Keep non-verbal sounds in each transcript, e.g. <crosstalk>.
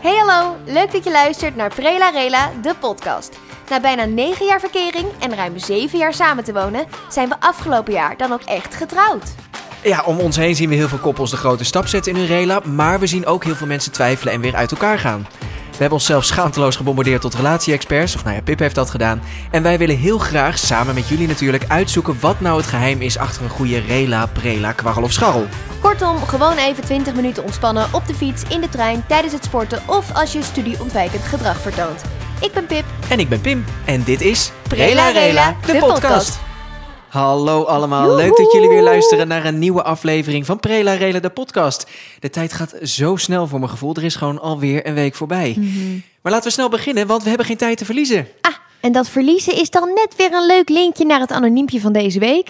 Hey hallo, leuk dat je luistert naar Prela Rela, de podcast. Na bijna 9 jaar verkering en ruim 7 jaar samen te wonen, zijn we afgelopen jaar dan ook echt getrouwd. Ja, om ons heen zien we heel veel koppels de grote stap zetten in hun rela, maar we zien ook heel veel mensen twijfelen en weer uit elkaar gaan. We hebben onszelf schaamteloos gebombardeerd tot relatie-experts, of nou ja, Pip heeft dat gedaan. En wij willen heel graag, samen met jullie natuurlijk, uitzoeken wat nou het geheim is achter een goede rela, prela, kwarrel of scharrel. Kortom, gewoon even 20 minuten ontspannen op de fiets, in de trein, tijdens het sporten of als je studieontwijkend gedrag vertoont. Ik ben Pip. En ik ben Pim, en dit is Prela Rela, de podcast. Hallo allemaal, Joehoe. leuk dat jullie weer luisteren naar een nieuwe aflevering van Prela Rela, de podcast. De tijd gaat zo snel voor mijn gevoel, er is gewoon alweer een week voorbij. Mhm. Maar laten we snel beginnen, want we hebben geen tijd te verliezen. Ah, en dat verliezen is dan net weer een leuk linkje naar het anoniempje van deze week.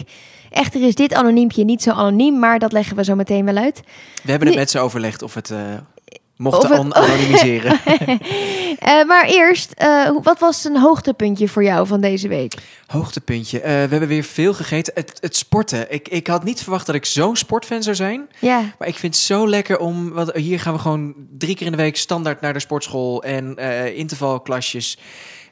Echter is dit anoniempje niet zo anoniem, maar dat leggen we zo meteen wel uit. We hebben het Nee. met ze overlegd of het eh, mochten Of het- an- <laughs> anonimiseren. Eh, maar eerst, eh, hoe- wat was een hoogtepuntje voor jou van deze week? Hoogtepuntje. Eh, we hebben weer veel gegeten. Het, het sporten. Ik, ik had niet verwacht dat ik zo'n sportfan zou zijn. Ja, Maar ik vind het zo lekker om... Wat, hier gaan we gewoon drie keer in de week standaard naar de sportschool. En eh, intervalklasjes.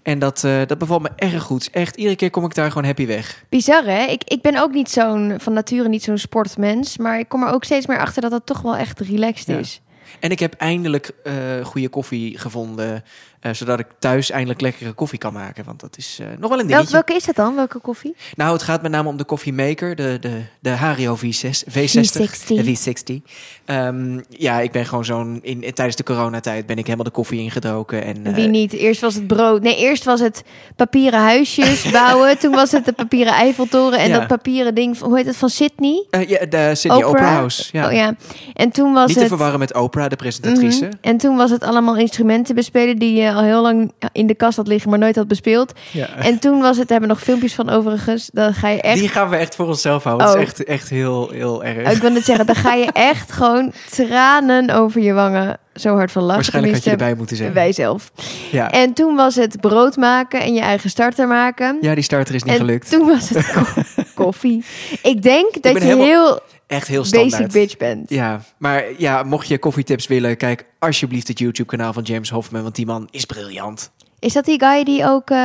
En dat, eh, dat bevalt me erg goed. Echt, iedere keer kom ik daar gewoon happy weg. bizar hè? Ik, ik ben ook niet zo'n, van nature niet zo'n sportmens. Maar ik kom er ook steeds meer achter dat dat toch wel echt relaxed Ja. is. En ik heb eindelijk eh, goede koffie gevonden. eh, zodat ik thuis eindelijk lekkere koffie kan maken. Want dat is eh, nog wel een Wel- dingetje. welke is dat dan? Welke koffie? Nou, het gaat met name om de koffiemaker, de, de, de Hario V6, V60. V60. De V60. eh, Ehm, ja, ik ben gewoon zo'n... In, in- tijdens de coronatijd ben ik helemaal de koffie ingedoken. En, eh, Wie niet? Eerst was het brood. Nee, eerst was het papieren <laughs> huisjes bouwen. Toen was het de papieren Eiffeltoren en Ja. dat papieren ding. van- Hoe heet het? Van Sydney? eh, ja, de Sydney Opera, Oprah. House. Ja. Oh ja. En toen was niet te het. verwarren met Oprah, de presentatrice. Mhm. En toen was het allemaal instrumenten bespelen die je al heel lang in de kast had liggen, maar nooit had bespeeld. ja. Mhm. En toen was het, daar hebben we nog filmpjes van overigens. Dan ga je echt. Die gaan we echt voor onszelf houden. Dat Oh. is echt, echt heel, heel erg. Ik wil het zeggen, dan ga je echt gewoon tranen over je wangen. Zo hard van lachen. Waarschijnlijk had tenminste, je erbij moeten zijn. Wij zelf. Ja. En toen was het brood maken en je eigen starter maken. ja, die starter is niet en gelukt. toen was het <laughs> ko- koffie. Ik denk dat ben je helemaal heel Echt heel standaard. basic bitch bent. Ja, maar ja, mocht je koffietips willen, kijk alsjeblieft het YouTube-kanaal van James Hofman, want die man is briljant. Is dat die guy die ook eh,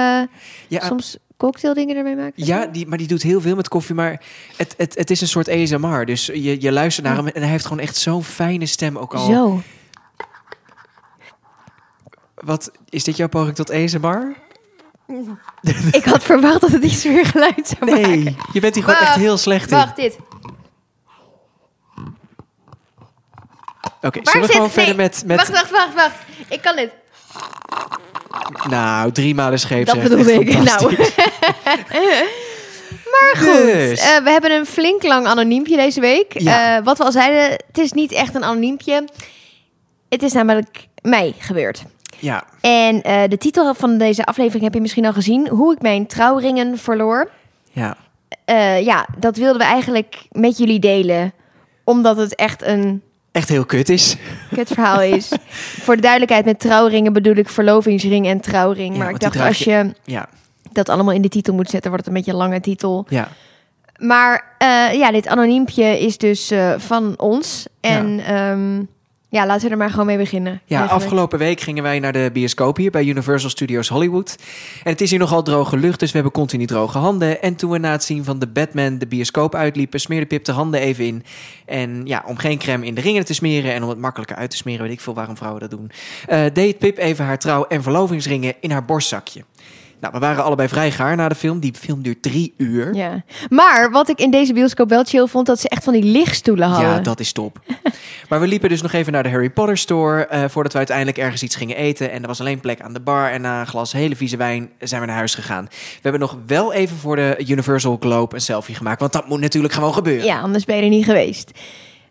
Ja, soms cocktaildingen ermee maakt? of Ja, zo? die, maar die doet heel veel met koffie. Maar het, het, het is een soort ASMR. Dus je, je luistert naar hem en hij heeft gewoon echt zo'n fijne stem ook al. Zo. Wat is dit jouw poging tot ASMR? Ik had verwacht dat het iets meer geluid zou maken. Nee, <laughs> je bent hier gewoon echt Wacht, heel slecht in. Wacht, dit. Oké, Waar zullen we zit gewoon het? verder Nee, met... met Wacht, wacht, wacht, wacht. Ik kan dit. Nou, drie malen scheep. Dat zeg. bedoelde <laughs> Echt ik. Nou. fantastisch. <laughs> maar goed. Dus. eh, we hebben een flink lang anoniempje deze week. Ja. Eh, wat we al zeiden, het is niet echt een anoniempje. Het is namelijk mij gebeurd. Ja, En eh, de titel van deze aflevering heb je misschien al gezien. Hoe ik mijn trouwringen verloor. ja. Eh, ja, dat wilden we eigenlijk met jullie delen. Omdat het echt een Echt heel kut is. kut verhaal <laughs> is. Voor de duidelijkheid, met trouwringen bedoel ik verlovingsring en trouwring. Ja, maar ik want die dacht, als je Ja, dat allemaal in de titel moet zetten, wordt het een beetje een lange titel. ja. Maar eh, ja, dit anoniempje is dus eh, van ons. En ja. ja, laten we er maar gewoon mee beginnen. Ja, Eigenlijk. afgelopen week gingen wij naar de bioscoop hier bij Universal Studios Hollywood. En het is hier nogal droge lucht, dus we hebben continu droge handen. En toen we na het zien van de Batman de bioscoop uitliepen, smeerde Pip de handen even in. En ja, om geen crème in de ringen te smeren en om het makkelijker uit te smeren, weet ik veel waarom vrouwen dat doen, eh, deed Pip even haar trouw- en verlovingsringen in haar borstzakje. Nou, we waren allebei vrij gaar na de film. Die film duurt drie uur. Ja. Maar wat ik in deze bioscoop wel chill vond, dat ze echt van die lichtstoelen hadden. Ja, dat is top. maar we liepen dus nog even naar de Harry Potter store... eh, voordat we uiteindelijk ergens iets gingen eten. En er was alleen plek aan de bar. En na een glas hele vieze wijn zijn we naar huis gegaan. We hebben nog wel even voor de Universal Globe een selfie gemaakt. Want dat moet natuurlijk gewoon gebeuren. Ja, anders ben je er niet geweest.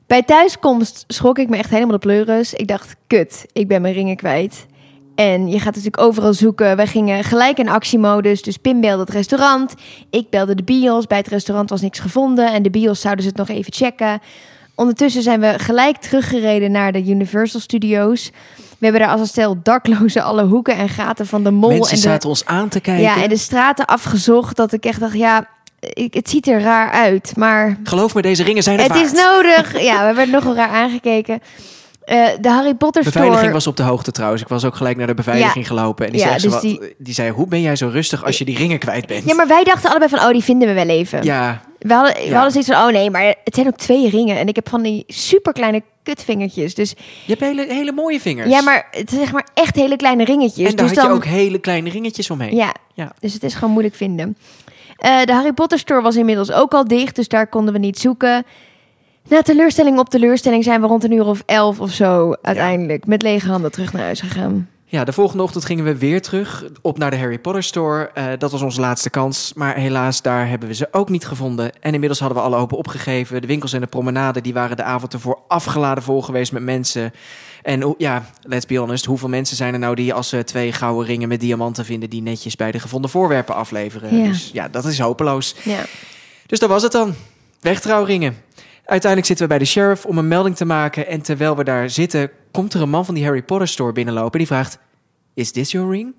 Bij thuiskomst schrok ik me echt helemaal de pleuris. Ik dacht, kut, ik ben mijn ringen kwijt. En je gaat natuurlijk overal zoeken. Wij gingen gelijk in actiemodus. Dus Pim belde het restaurant. Ik belde de bios. Bij het restaurant was niks gevonden. En de bios zouden ze het nog even checken. Ondertussen zijn we gelijk teruggereden naar de Universal Studios. We hebben daar als een stel daklozen alle hoeken en gaten van de mol Mensen en de zaten ons aan te kijken. ja, en de straten afgezocht. Dat ik echt dacht, ja, ik, het ziet er raar uit. Maar Geloof me, deze ringen zijn er het is nou waard. <laughs> nodig. Ja, we werden nogal raar aangekeken. Eh, de Harry Potter Beveiliging store... was op de hoogte trouwens. Ik was ook gelijk naar de beveiliging gelopen. En die, Ja, zei, dus zo, die- wat- die zei, hoe ben jij zo rustig als je die ringen kwijt bent? Ja, maar wij dachten allebei van, oh, die vinden we wel even. Ja, We hadden, we Ja. hadden zoiets van, oh nee, maar het zijn ook twee ringen. En ik heb van die superkleine kutvingertjes. Dus je hebt hele, hele mooie vingers. ja, maar het zijn zeg maar echt hele kleine ringetjes. en daar dus had dan, je ook hele kleine ringetjes omheen. Ja, Ja. dus het is gewoon moeilijk vinden. Eh, de Harry Potter store was inmiddels ook al dicht, dus daar konden we niet zoeken. Na teleurstelling op teleurstelling zijn we rond een uur of elf of zo uiteindelijk met lege handen terug naar huis gegaan. Ja, de volgende ochtend gingen we weer terug op naar de Harry Potter Store. Eh, dat was onze laatste kans, maar helaas, daar hebben we ze ook niet gevonden. En inmiddels hadden we alle open opgegeven. De winkels en de promenade die waren de avond ervoor afgeladen vol geweest met mensen. En hoe- ja, let's be honest, hoeveel mensen zijn er nou die als ze twee gouden ringen met diamanten vinden... die netjes bij de gevonden voorwerpen afleveren? Ja. Dus ja, dat is hopeloos. Ja. Dus dat was het dan. Wegtrouwringen. Uiteindelijk zitten we bij de sheriff om een melding te maken. En terwijl we daar zitten, komt er een man van die Harry Potter store binnenlopen. Die vraagt, is this your ring?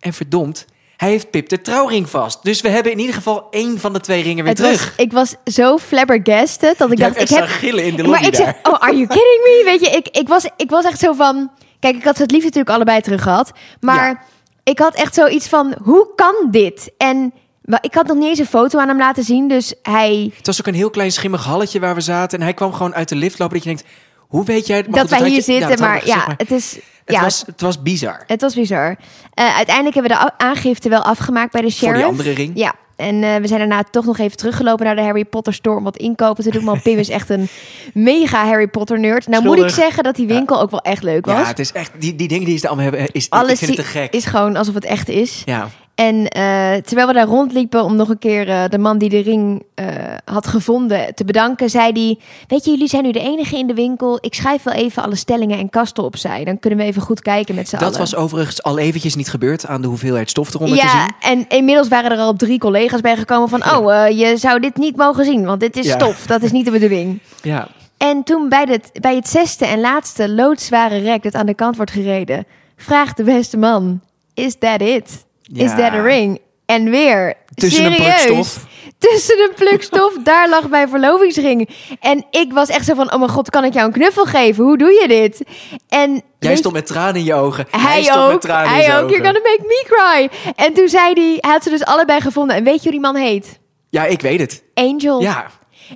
En verdomd, hij heeft Pip de trouwring vast. Dus we hebben in ieder geval één van de twee ringen weer Het terug. was, ik was zo flabbergasted dat ik Ja, dacht, er ik heb staan gillen in de lobby Maar ik daar. zeg, oh, are you kidding me? Weet je, ik, ik, was, ik was echt zo van... Kijk, ik had ze het liefst natuurlijk allebei terug gehad. Maar Ja. ik had echt zoiets van, hoe kan dit? En wa- ik had nog niet eens een foto aan hem laten zien. Dus hij... Het was ook een heel klein schimmig halletje waar we zaten. En hij kwam gewoon uit de lift lopen. Dat je denkt, hoe weet jij... Maar dat goed, wij had hier je- ja, zitten, dat hadden maar we gezegd, ja, het is... het, ja, was, het was bizar. het was bizar. Eh, uiteindelijk hebben we de a- aangifte wel afgemaakt bij de Voor sheriff. die andere ring. Ja, en eh, we zijn daarna toch nog even teruggelopen naar de Harry Potter store om wat inkopen te doen. Want Pim is echt een mega Harry Potter nerd. Nou moet Schuldig. ik zeggen dat die winkel ook wel echt leuk was. Ja, het is echt... Die, die dingen die ze allemaal hebben, is, ik Alles vind het te zie- gek. is gewoon alsof het echt is. Ja. En eh, terwijl we daar rondliepen om nog een keer eh, de man die de ring eh, had gevonden te bedanken, zei hij: Weet je, jullie zijn nu de enige in de winkel. Ik schrijf wel even alle stellingen en kasten opzij. Dan kunnen we even goed kijken met z'n Dat allen. was overigens al eventjes niet gebeurd aan de hoeveelheid stof eronder te zien. ja, en inmiddels waren er al drie collega's bij gekomen van... oh, eh, je zou dit niet mogen zien, want dit is Ja. stof. Dat is niet de <laughs> bedoeling. Ja. En toen bij, het bij het zesde en laatste loodzware rek dat aan de kant wordt gereden, vraagt de beste man: Is that it? Is Ja. that a ring? En weer, Tussen een serieus, pluk stof. <laughs> tussen een pluk stof, daar lag mijn verlovingsring. En ik was echt zo van, oh mijn god, kan ik jou een knuffel geven? Hoe doe je dit? En Jij weet- stond met tranen in je ogen. Hm? hij, stond met ook, tranen in hij zijn ook, you're ogen. gonna make me cry. En toen zei hij, hij had ze dus allebei gevonden. En weet je hoe die man heet? Ja, ik weet het. Angel. Ja.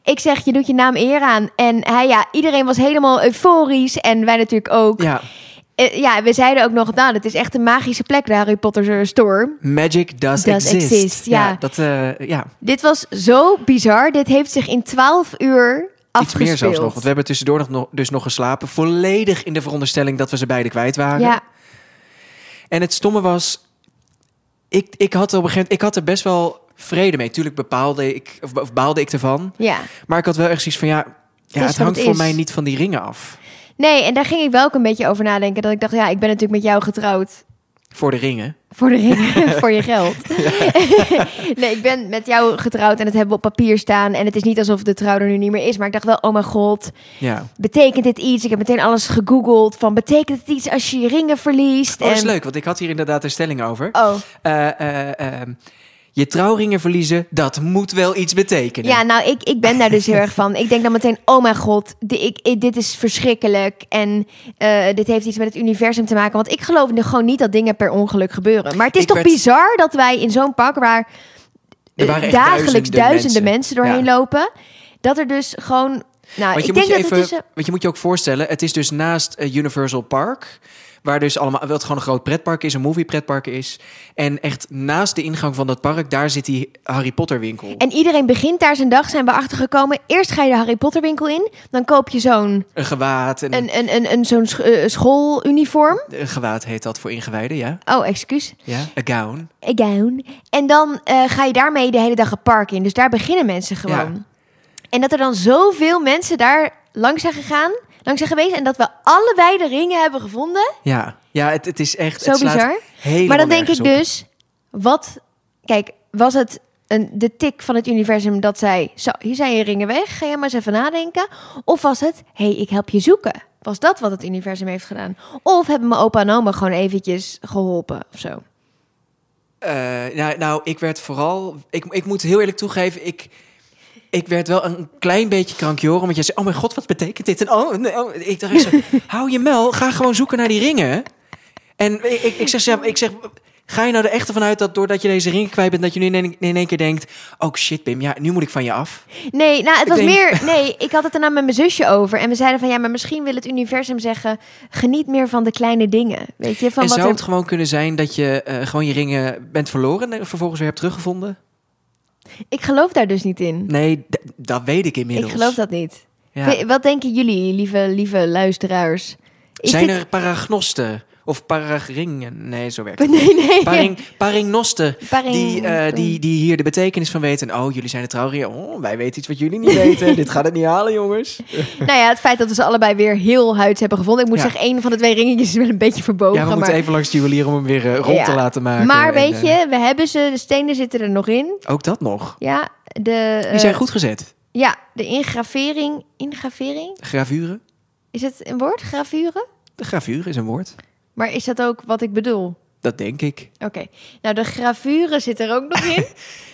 Ik zeg, je doet je naam eer aan. En hij, ja, iedereen was helemaal euforisch. En wij natuurlijk ook. ja. Eh, ja, we zeiden ook nog, nou, dat is echt een magische plek, de Harry Potter store. Magic does, Does exist. exist, ja. dat, eh, ja. Dit was zo bizar. Dit heeft zich in 12 uur Iets meer afgespeeld. zelfs nog. Want we hebben tussendoor nog- nog, dus nog geslapen. Volledig in de veronderstelling dat we ze beide kwijt waren. ja, En het stomme was, ik, ik had op een gegeven moment, ik had er best wel vrede mee. Tuurlijk bepaalde ik, of, of baalde ik ervan. ja. Maar ik had wel echt zoiets van, ja, ja is wat het hangt het voor is. mij niet van die ringen af. Nee, en daar ging ik wel ook een beetje over nadenken. Dat ik dacht, ja, ik ben natuurlijk met jou getrouwd. Voor de ringen. Voor de <laughs> ring, voor je geld. <laughs> nee, ik ben met jou getrouwd en dat hebben we op papier staan. En het is niet alsof de trouw er nu niet meer is. Maar ik dacht wel, oh mijn god, Ja. betekent dit iets? Ik heb meteen alles gegoogeld van, betekent het iets als je je ringen verliest? Oh, dat is En- leuk, want ik had hier inderdaad een stelling over. Oh, Eh, eh, ehm, je trouwringen verliezen, dat moet wel iets betekenen. Ja, nou, ik, ik ben daar dus heel erg van. Ik denk dan meteen, oh mijn god, di- ik, ik- dit is verschrikkelijk. En eh, dit heeft iets met het universum te maken. Want ik geloof nu gewoon niet dat dingen per ongeluk gebeuren. Maar het is Ik toch werd- bizar dat wij in zo'n pak waar Er eh, waren echt dagelijks duizenden, mensen, doorheen Ja. lopen, dat er dus gewoon... Nou, Want je, ik moet denk je, dat even, het is... een- want je moet je ook voorstellen, het is dus naast eh, Universal Park, waar dus allemaal, wat gewoon een groot pretpark is, een movie pretpark is. En echt naast de ingang van dat park, daar zit die Harry Potter winkel. En iedereen begint daar zijn dag, zijn we achtergekomen. Eerst ga je de Harry Potter winkel in. Dan koop je zo'n Een gewaad, en, een, een, een, een, zo'n sch- eh, schooluniform. een gewaad heet dat voor ingewijden, ja? Oh, excuus. Ja, een gown. Again. En dan eh, ga je daarmee de hele dag het park in. Dus daar beginnen mensen gewoon. En dat er dan zoveel mensen daar langs zijn gegaan, langs zijn geweest. En dat we allebei de ringen hebben gevonden. Ja, ja het, het is echt, Zo het slaat bizar. helemaal Maar dan denk nergens ik op. dus, wat... Kijk, was het een, de tik van het universum dat zei... Zo, hier zijn je ringen weg, ga jij maar eens even nadenken. Of was het, hé, hey, ik help je zoeken. Was dat wat het universum heeft gedaan? Of hebben mijn opa en oma gewoon eventjes geholpen of zo? Eh, nou, nou, ik werd vooral. Ik, ik moet heel eerlijk toegeven, ik, ik werd wel een klein beetje krankjoren. Want jij zei, oh mijn god, wat betekent dit? En oh, nee, oh. ik dacht echt zo, <laughs> hou je mel, ga gewoon zoeken naar die ringen. En ik, ik, ik, zeg, ja, ik zeg, ga je nou er echt vanuit dat doordat je deze ringen kwijt bent... dat je nu in één- in één keer denkt, oh shit Pim, ja, nu moet ik van je af. Nee, nou, het was denk- meer. Nee, ik had het daarna met mijn zusje over. En we zeiden van ja, maar misschien wil het universum zeggen. Geniet meer van de kleine dingen. Weet je, van en wat zou er- het gewoon kunnen zijn dat je eh, gewoon je ringen bent verloren... en vervolgens weer hebt teruggevonden? Ik geloof daar dus niet in. Nee, d- dat weet ik inmiddels. Ik geloof dat niet. Ja. Weet- Wat denken jullie, lieve, lieve luisteraars? Is Zijn dit- er paragnosten? Of paragringen? Nee, zo werkt het. Nee, nee. <laughs> Paring, paringnosten. Paring- Die, eh, die, die hier de betekenis van weten. En, Oh, jullie zijn de trouwringen. Oh, wij weten iets wat jullie <laughs> niet weten. Dit gaat het niet halen, jongens. Nou ja, het feit dat we ze allebei weer heel huids hebben gevonden. Ik moet Ja. zeggen, één van de twee ringetjes is wel een beetje verbogen. ja, we maar moeten even langs de juwelier om hem weer eh, rond Ja. te laten maken. maar En, weet eh, je, we hebben ze. De stenen zitten er nog in. ook dat nog. Ja, de, Die eh, zijn goed gezet. ja, de ingravering. Ingravering? Gravuren. Is het een woord? Gravuren? De gravuur is een woord. Maar is dat ook wat ik bedoel? Dat denk ik. Oké. Nou, de gravuren zit er ook nog <laughs> in.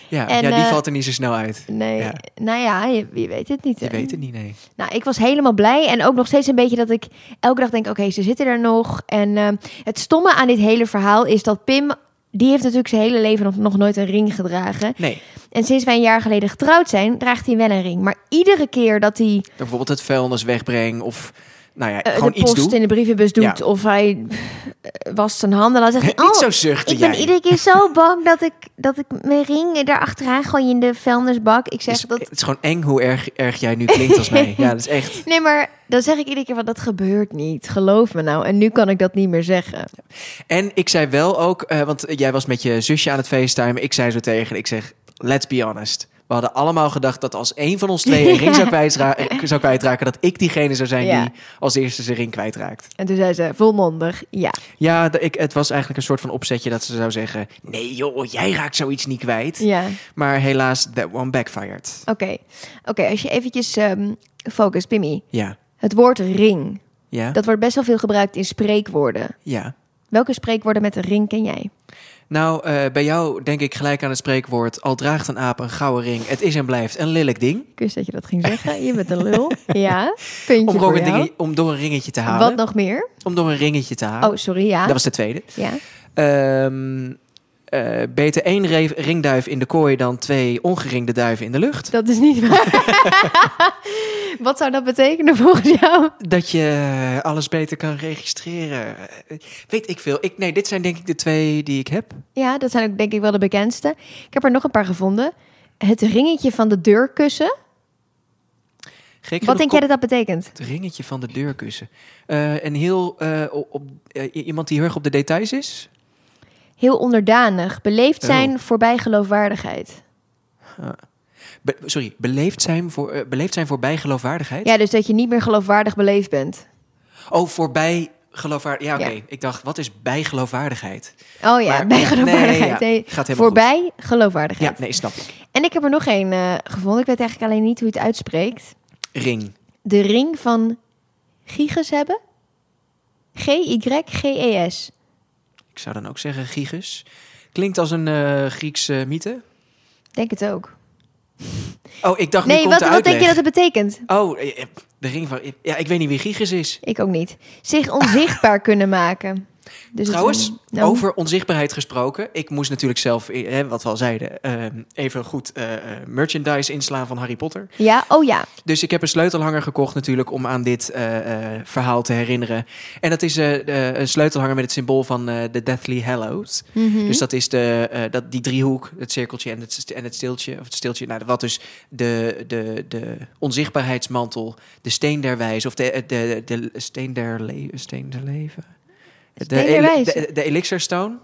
Ja, En, ja die eh, valt er niet zo snel uit. Nee. Ja. Nou ja, je, je weet het niet. Je hè? weet het niet, nee. Nou, ik was helemaal blij. En ook nog steeds een beetje dat ik elke dag denk: oké, ze zitten er nog. En ehm, het stomme aan dit hele verhaal is dat Pim. Die heeft natuurlijk zijn hele leven nog, nog nooit een ring gedragen. Nee. En sinds wij een jaar geleden getrouwd zijn, draagt hij wel een ring. Maar iedere keer dat hij Dan bijvoorbeeld het vuilnis wegbreng of... Nou ja, eh, de gewoon iets post doen. in de brievenbus doet of hij eh, was wast zijn handen, dan zegt hij: <laughs> <laughs> Niet Oh, zo zuchten ik ben jij. iedere keer zo <laughs> bang dat ik, dat ik mijn ring erachteraan gooi in de vuilnisbak. Ik zeg Is- dat Dus Het is gewoon eng hoe erg, erg jij nu klinkt <laughs> als mij. Ja, dat is echt. Nee, maar dan zeg ik iedere keer van dat gebeurt niet. Geloof me nou. En nu kan ik dat niet meer zeggen. En ik zei wel ook, eh, want jij was met je zusje aan het facetimen. Ik zei zo tegen, ik zeg, let's be honest. We hadden allemaal gedacht dat als één van ons <laughs> twee een ring zou, kwijtra- eh, zou kwijtraken... dat ik diegene zou zijn Ja. die als eerste zijn ring kwijtraakt. En toen zei ze volmondig ja. Ja, de- ik, het was eigenlijk een soort van opzetje dat ze zou zeggen... nee joh, jij raakt zoiets niet kwijt. Ja, Maar helaas, that one backfired. oké. Oké, als je eventjes ehm focus, Pimmy. Ja, Het woord ring, ja, dat wordt best wel veel gebruikt in spreekwoorden. ja. Welke spreekwoorden met een ring ken jij? Nou, eh, bij jou denk ik gelijk aan het spreekwoord... al draagt een aap een gouden ring, het is en blijft een lelijk ding... Ik wist dat je dat ging zeggen. Je bent een lul. <laughs> Ja, puntje Om, voor ook een jou. dingetje- om door een ringetje te halen. Wat nog meer? Om door een ringetje te halen. Oh, sorry, ja. Dat was de tweede. ja. Ehm, eh, beter één re- ringduif in de kooi dan twee ongeringde duiven in de lucht. Dat is niet <laughs> waar. Wat zou dat betekenen volgens jou? Dat je alles beter kan registreren. Eh, Weet ik veel. Ik, nee, dit zijn denk ik de twee die ik heb. Ja, dat zijn ook denk ik wel de bekendste. Ik heb er nog een paar gevonden. Het ringetje van de deurkussen. Gek Wat genoeg denk jij dat dat betekent? komt Het ringetje van de deurkussen. Eh een heel... eh, op, op- eh, i- iemand die heel erg op de details is. Heel onderdanig. Beleefd zijn Oh. voorbij geloofwaardigheid. Be- sorry, beleefd zijn, voor, eh, beleefd zijn voorbij geloofwaardigheid? Ja, dus dat je niet meer geloofwaardig beleefd bent. Oh, voorbij geloofwaardigheid. Ja, oké. Ja. Ik dacht, wat is bijgeloofwaardigheid? Oh ja, Maar- bij ja, geloofwaardigheid. nee, ja. Nee, Gaat helemaal voorbij geloofwaardigheid. Ja, nee, snap ik. En ik heb er nog één eh, gevonden. Ik weet eigenlijk alleen niet hoe je het uitspreekt. Ring. De ring van Giges hebben. G-Y-G-E-S. Ik zou dan ook zeggen Gigas. Klinkt als een eh, Griekse mythe. Denk het ook. Oh, ik dacht, nu Nee, komt wat, de wat denk je dat uitleg. het betekent? Oh, eh, eh, de ring van... Ja, ik weet niet wie Gigas is. Ik ook niet. Zich <laughs> onzichtbaar kunnen maken. Dus het- Trouwens, nou, over onzichtbaarheid gesproken. Ik moest natuurlijk zelf, eh, hè, wat we al zeiden, ehm, even goed eh, eh, merchandise inslaan van Harry Potter. Ja, oh ja. Dus ik heb een sleutelhanger gekocht natuurlijk om aan dit eh, eh, verhaal te herinneren. En dat is eh, eh, een sleutelhanger met het symbool van eh, de Deathly Hallows. Mhm. Dus dat is de, eh, dat, die driehoek, het cirkeltje en het, st- en het stiltje. Of het stiltje, nou, wat dus de, de, de onzichtbaarheidsmantel, de steen der wijze, of de, eh, de, de, steen der, le- steen der leven. Steen der ele- wijze. de, de elixirstone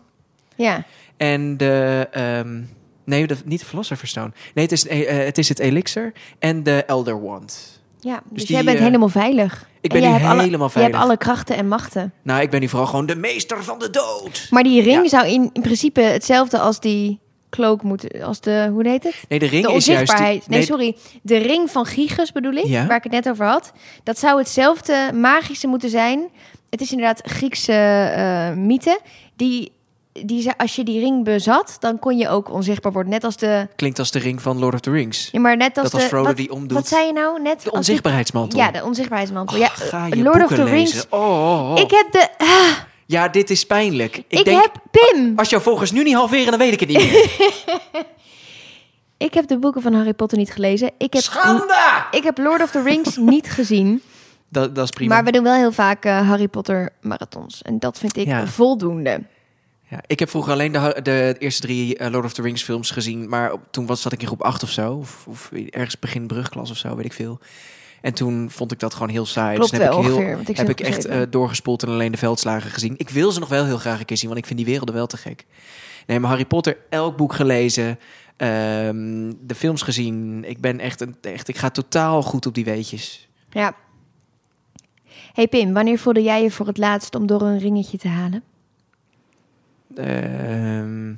ja. en de... ehm, nee, dat, niet de philosopherstone. Nee, het is, eh, eh, het is het elixir en de elder wand. ja. Dus, die, jij bent eh, helemaal veilig. Ik En ben nu jij hebt alle- helemaal Je veilig. hebt alle krachten en machten. Nou, ik ben nu vooral gewoon de meester van de dood. Maar die ring Ja. zou in, in principe hetzelfde als die cloak moeten... Als de, hoe heet het? Nee, de ring De is juist... die- onzichtbaarheid. nee, sorry. De ring van Gigas bedoel ik, Ja. waar ik het net over had. Dat zou hetzelfde magische moeten zijn. Het is inderdaad Griekse eh mythe die die, ze- als je die ring bezat, dan kon je ook onzichtbaar worden. Net als de... Klinkt als de ring van Lord of the Rings. Ja, maar net als dat als de... Frodo wat, die omdoet. wat zei je nou? Net De als die- onzichtbaarheidsmantel. Ja, de onzichtbaarheidsmantel. Oh, ja, ga eh, je Lord of boeken the Rings. lezen. Oh, oh, oh. Ik heb de... ah, Ja, dit is pijnlijk. Ik, ik denk, heb Pim. als jouw volgers nu niet halveren, dan weet ik <laughs> het niet meer. Ik heb de boeken van Harry Potter niet gelezen. Ik heb, Schande! ik heb Lord of the Rings niet gezien. Dat, dat is prima. Maar we doen wel heel vaak eh, Harry Potter marathons. En dat vind ik Ja. dus voldoende. Ja, ik heb vroeger alleen de, ha- de eerste drie eh, Lord of the Rings films gezien. Maar op- toen was, zat ik in groep 8 of zo. Of, of ergens begin brugklas of zo, weet ik veel. En toen vond ik dat gewoon heel saai. Klopt dus dan heb wel ik heel, ongeveer. Want ik zit heb ik op echt zeven. eh, doorgespoeld en alleen de veldslagen gezien. Ik wil ze nog wel heel graag een keer zien, want ik vind die werelden wel te gek. Nee, maar Harry Potter, elk boek gelezen, ehm, de films gezien. Ik ben echt, een, echt, ik ga totaal goed op die weetjes. Ja. Hey Pim, wanneer voelde jij je voor het laatst om door een ringetje te halen? Ehm,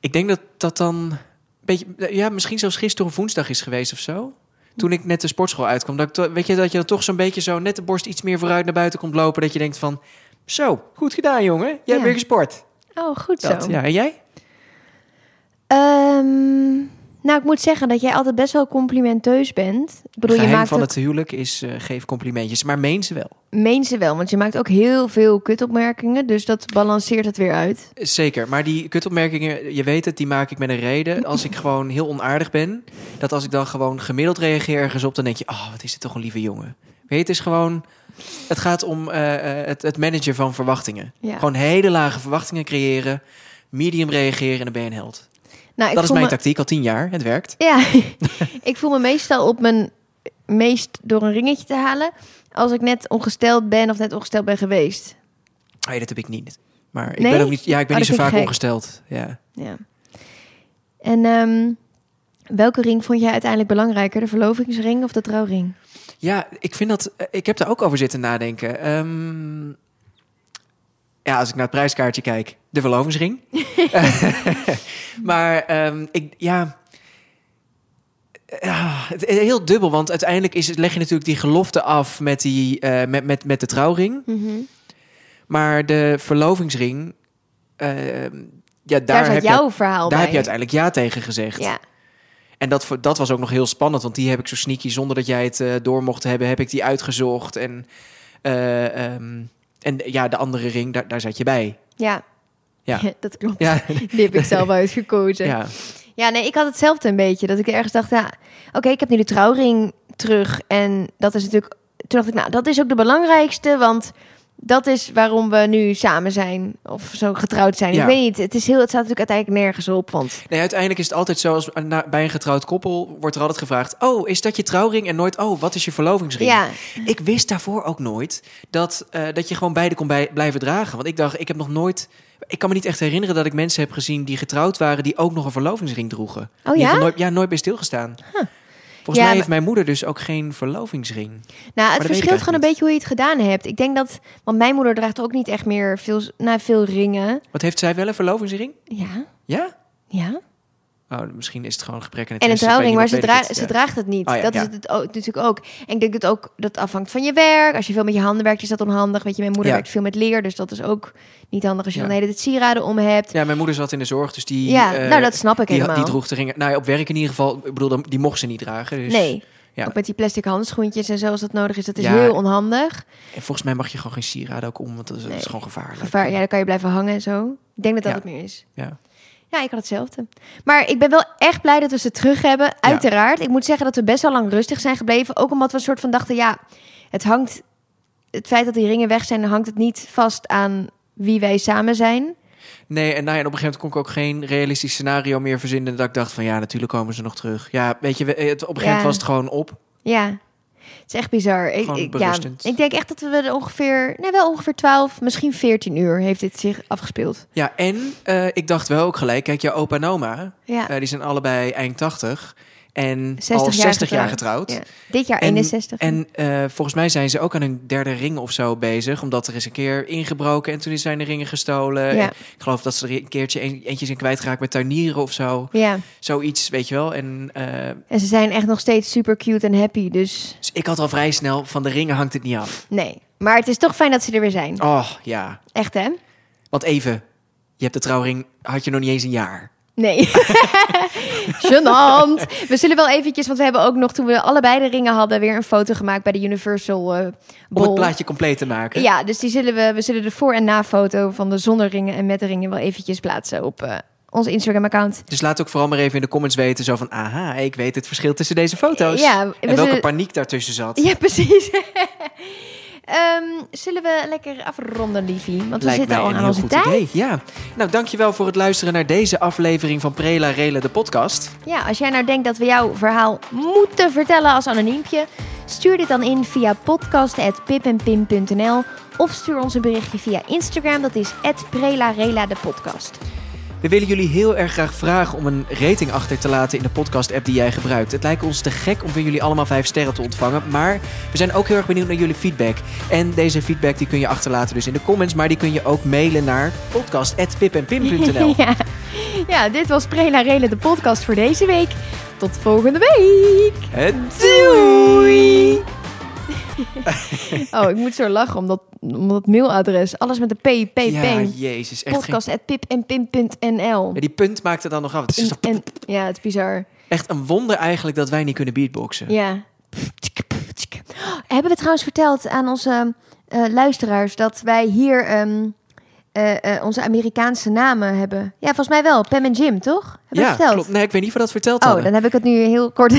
ik denk dat dat dan een beetje, eh, ja, misschien zelfs gisteren of woensdag is geweest of zo. Toen ik net de sportschool uitkwam, dat ik, to- weet je, dat je dan toch zo'n beetje zo net de borst iets meer vooruit naar buiten komt lopen, dat je denkt van, zo, goed gedaan jongen, jij hebt Ja. weer gesport. Oh, goed zo. Dat, ja, en jij? Ehm, nou, ik moet zeggen dat jij altijd best wel complimenteus bent. Ik bedoel, je Geheim maakt van het, het huwelijk is eh, geef complimentjes, maar meen ze wel. meen ze wel, want je maakt ook heel veel kutopmerkingen. Dus dat balanceert het weer uit. Zeker, maar die kutopmerkingen, je weet het, die maak ik met een reden. Als ik gewoon heel onaardig ben, dat als ik dan gewoon gemiddeld reageer ergens op, dan denk je, oh, wat is dit toch een lieve jongen. Weet je, het is gewoon, het gaat om eh, eh, het, het managen van verwachtingen. Ja. Gewoon hele lage verwachtingen creëren, medium reageren en dan ben je een held. Nou, ik dat is voel mijn me- tactiek, al tien jaar, het werkt. Ja, <laughs> ik voel me meestal op mijn meest door een ringetje te halen als ik net ongesteld ben of net ongesteld ben geweest. Nee, dat heb ik niet. Maar ik Nee? ben ook niet, ja, ik ben Oh, niet zo dat vind ik vaak gek. ongesteld. Ja. Ja. En ehm, welke ring vond jij uiteindelijk belangrijker? De verlovingsring of de trouwring? Ja, ik vind dat. eh, Ik heb daar ook over zitten nadenken. Ehm, ja, als ik naar het prijskaartje kijk, de <laughs> verlovingsring. <laughs> maar ehm, ik, ja. Ja, het is heel dubbel, want uiteindelijk is, het- leg je natuurlijk die gelofte af met, die, eh, met, met, met de trouwring. Maar de verlovingsring, ehm, ja, daar, Daar, heb, zat je, jouw verhaal daar bij. heb je uiteindelijk ja tegen gezegd. Ja, En dat, vo- dat was ook nog heel spannend, want die heb ik zo sneaky, zonder dat jij het eh, door mocht hebben, heb ik die uitgezocht. En, eh, ehm, en ja, de andere ring, daar, daar zat je bij. ja. Ja. <laughs> dat klopt. Ja, Die heb ik <laughs> zelf uitgekozen. Ja. ja. nee, ik had hetzelfde een beetje. Dat ik ergens dacht, ja, oké, ik heb nu de trouwring terug. En dat is natuurlijk... Toen dacht ik, nou, dat is ook de belangrijkste, want... Dat is waarom we nu samen zijn of zo getrouwd zijn. Ja. Ik weet niet. Het, is heel, het staat natuurlijk uiteindelijk nergens op. Want Nee, uiteindelijk is het altijd zo, als, eh, na- bij een getrouwd koppel wordt er altijd gevraagd... oh, is dat je trouwring? En nooit, oh, wat is je verlovingsring? ja, Ik wist daarvoor ook nooit dat, eh, dat je gewoon beide kon bij- blijven dragen. Want ik dacht, ik heb nog nooit... Ik kan me niet echt herinneren dat ik mensen heb gezien die getrouwd waren... die ook nog een verlovingsring droegen. Die Oh ja? heb ik Nooit, ja, nooit bij stilgestaan. Volgens Ja, mij maar- heeft mijn moeder dus ook geen verlovingsring. Nou, dat het weet ik verschilt gewoon een eigenlijk beetje hoe je het gedaan hebt. Ik denk dat, want mijn moeder draagt ook niet echt meer veel, na veel ringen. Wat heeft zij wel, een verlovingsring? Ja, Ja? ja. Oh, misschien is het gewoon een gebrek aan het En een testen. Bij trouwring, maar ze, niemand weet ik draa- ze het, ja. draagt het niet. Oh ja, dat ja. is het, ook- natuurlijk ook. En ik denk dat ook dat afhangt van je werk. Als je veel met je handen werkt, is dat onhandig. Weet je, mijn moeder Ja. werkt veel met leer, dus dat is ook niet handig als je Ja. dan de hele tijd sieraden om hebt. Ja, mijn moeder zat in de zorg, dus die... ja, eh, nou dat snap ik die, helemaal. die droeg de ringen. Nou ja, op werk in ieder geval. Ik bedoel, dan- die mocht ze niet dragen. Dus, nee, ja. ook met die plastic handschoentjes en zo als dat nodig is. Dat is Ja. heel onhandig. En volgens mij mag je gewoon geen sieraden ook om, want dat is, dat is Nee. gewoon gevaarlijk. Gevaar, ja, dan kan je blijven hangen en zo. Ik denk dat dat Ja. het meer is. Ja. Ja, ik had hetzelfde. Maar ik ben wel echt blij dat we ze terug hebben. Uiteraard. Ik moet zeggen dat we best wel lang rustig zijn gebleven. Ook omdat we een soort van dachten, ja, het hangt... Het feit dat die ringen weg zijn, hangt het niet vast aan wie wij samen zijn. Nee, en, nou ja, en op een gegeven moment kon ik ook geen realistisch scenario meer verzinnen. Dat ik dacht van, ja, natuurlijk komen ze nog terug. Ja, weet je, we- het, op een gegeven moment Ja. was het gewoon op. Ja, het is echt bizar. Ik, Gewoon ik, ja, berustend. ik denk echt dat we er ongeveer, nee, wel ongeveer 12, misschien 14 uur heeft dit zich afgespeeld. Ja, en eh, ik dacht wel ook gelijk, kijk, jouw opa en oma, Ja, eh, die zijn allebei eind 80 en 60 al jaar 60 jaar getrouwd. getrouwd. Ja. dit jaar En- 61. En eh, volgens mij zijn ze ook aan hun derde ring of zo bezig. Omdat er is een keer ingebroken en toen zijn de ringen gestolen. Ja. En ik geloof dat ze er een keertje een, eentje zijn kwijtgeraakt met tuinieren of zo. ja, Zoiets, weet je wel. En eh, en ze zijn echt nog steeds super cute en happy, dus dus ik had al vrij snel, van de ringen hangt het niet af. nee. Maar het is toch fijn dat ze er weer zijn. Oh, ja. Echt, hè? Want even, je hebt de trouwring, had je nog niet eens een jaar. Nee. <laughs> Gênant. We zullen wel eventjes, want we hebben ook nog toen we allebei de ringen hadden, weer een foto gemaakt bij de Universal eh Om het Bowl. plaatje compleet te maken. Ja, dus die zullen we, we zullen de voor- en na-foto van de zonder ringen en met de ringen wel eventjes plaatsen op eh, ons Instagram-account. Dus laat ook vooral maar even in de comments weten. Zo van, aha, ik weet het verschil tussen deze foto's. Ja, we en welke zullen- paniek daartussen zat. Ja, precies. <laughs> Ehm, zullen we lekker afronden, Liefie? Want we Lijkt zitten mij al een aan heel onze goed tijd. idee. Ja. Nou, dankjewel voor het luisteren naar deze aflevering van Prela Rela, de podcast. Ja, als jij nou denkt dat we jouw verhaal moeten vertellen als anoniempje, stuur dit dan in via podcast.pipenpim.nl of stuur ons een berichtje via Instagram, dat is @prelarela de podcast. We willen jullie heel erg graag vragen om een rating achter te laten in de podcast-app die jij gebruikt. Het lijkt ons te gek om van jullie allemaal vijf sterren te ontvangen. Maar we zijn ook heel erg benieuwd naar jullie feedback. En deze feedback die kun je achterlaten dus in de comments. Maar die kun je ook mailen naar podcast.pipenpim.nl <laughs> Ja. ja, dit was Prelarela de podcast voor deze week. Tot volgende week! Doei! <laughs> Oh, ik moet zo lachen omdat, omdat het mailadres, alles met de p, p, Ja, p. jezus. Echt geen... Podcast.pipenpim.nl Ja, die punt maakt het dan nog af. Het is En- Ja, het is bizar. echt een wonder eigenlijk dat wij niet kunnen beatboxen. Ja. Hebben we trouwens verteld aan onze eh, luisteraars dat wij hier ehm, eh, eh, onze Amerikaanse namen hebben? Ja, volgens mij wel. Pam en Jim, toch? Hebben we Ja, het verteld? klopt. Nee, ik weet niet of we dat verteld Oh, hadden. dan heb ik het nu heel <laughs> kort.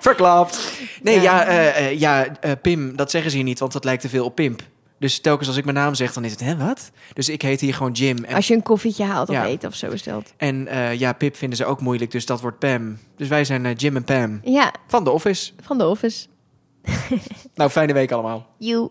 Verklapt. Nee, Ja. ja, eh, eh, ja eh, Pim, dat zeggen ze hier niet, want dat lijkt te veel op Pimp. Dus telkens als ik mijn naam zeg, dan is het, hè, wat? Dus ik heet hier gewoon Jim. En, Als je een koffietje haalt of Ja. eet of zo is dat. en eh, ja, Pip vinden ze ook moeilijk, dus dat wordt Pam. Dus wij zijn eh, Jim en Pam Ja, van The Office. van de office. Nou, fijne week allemaal. You.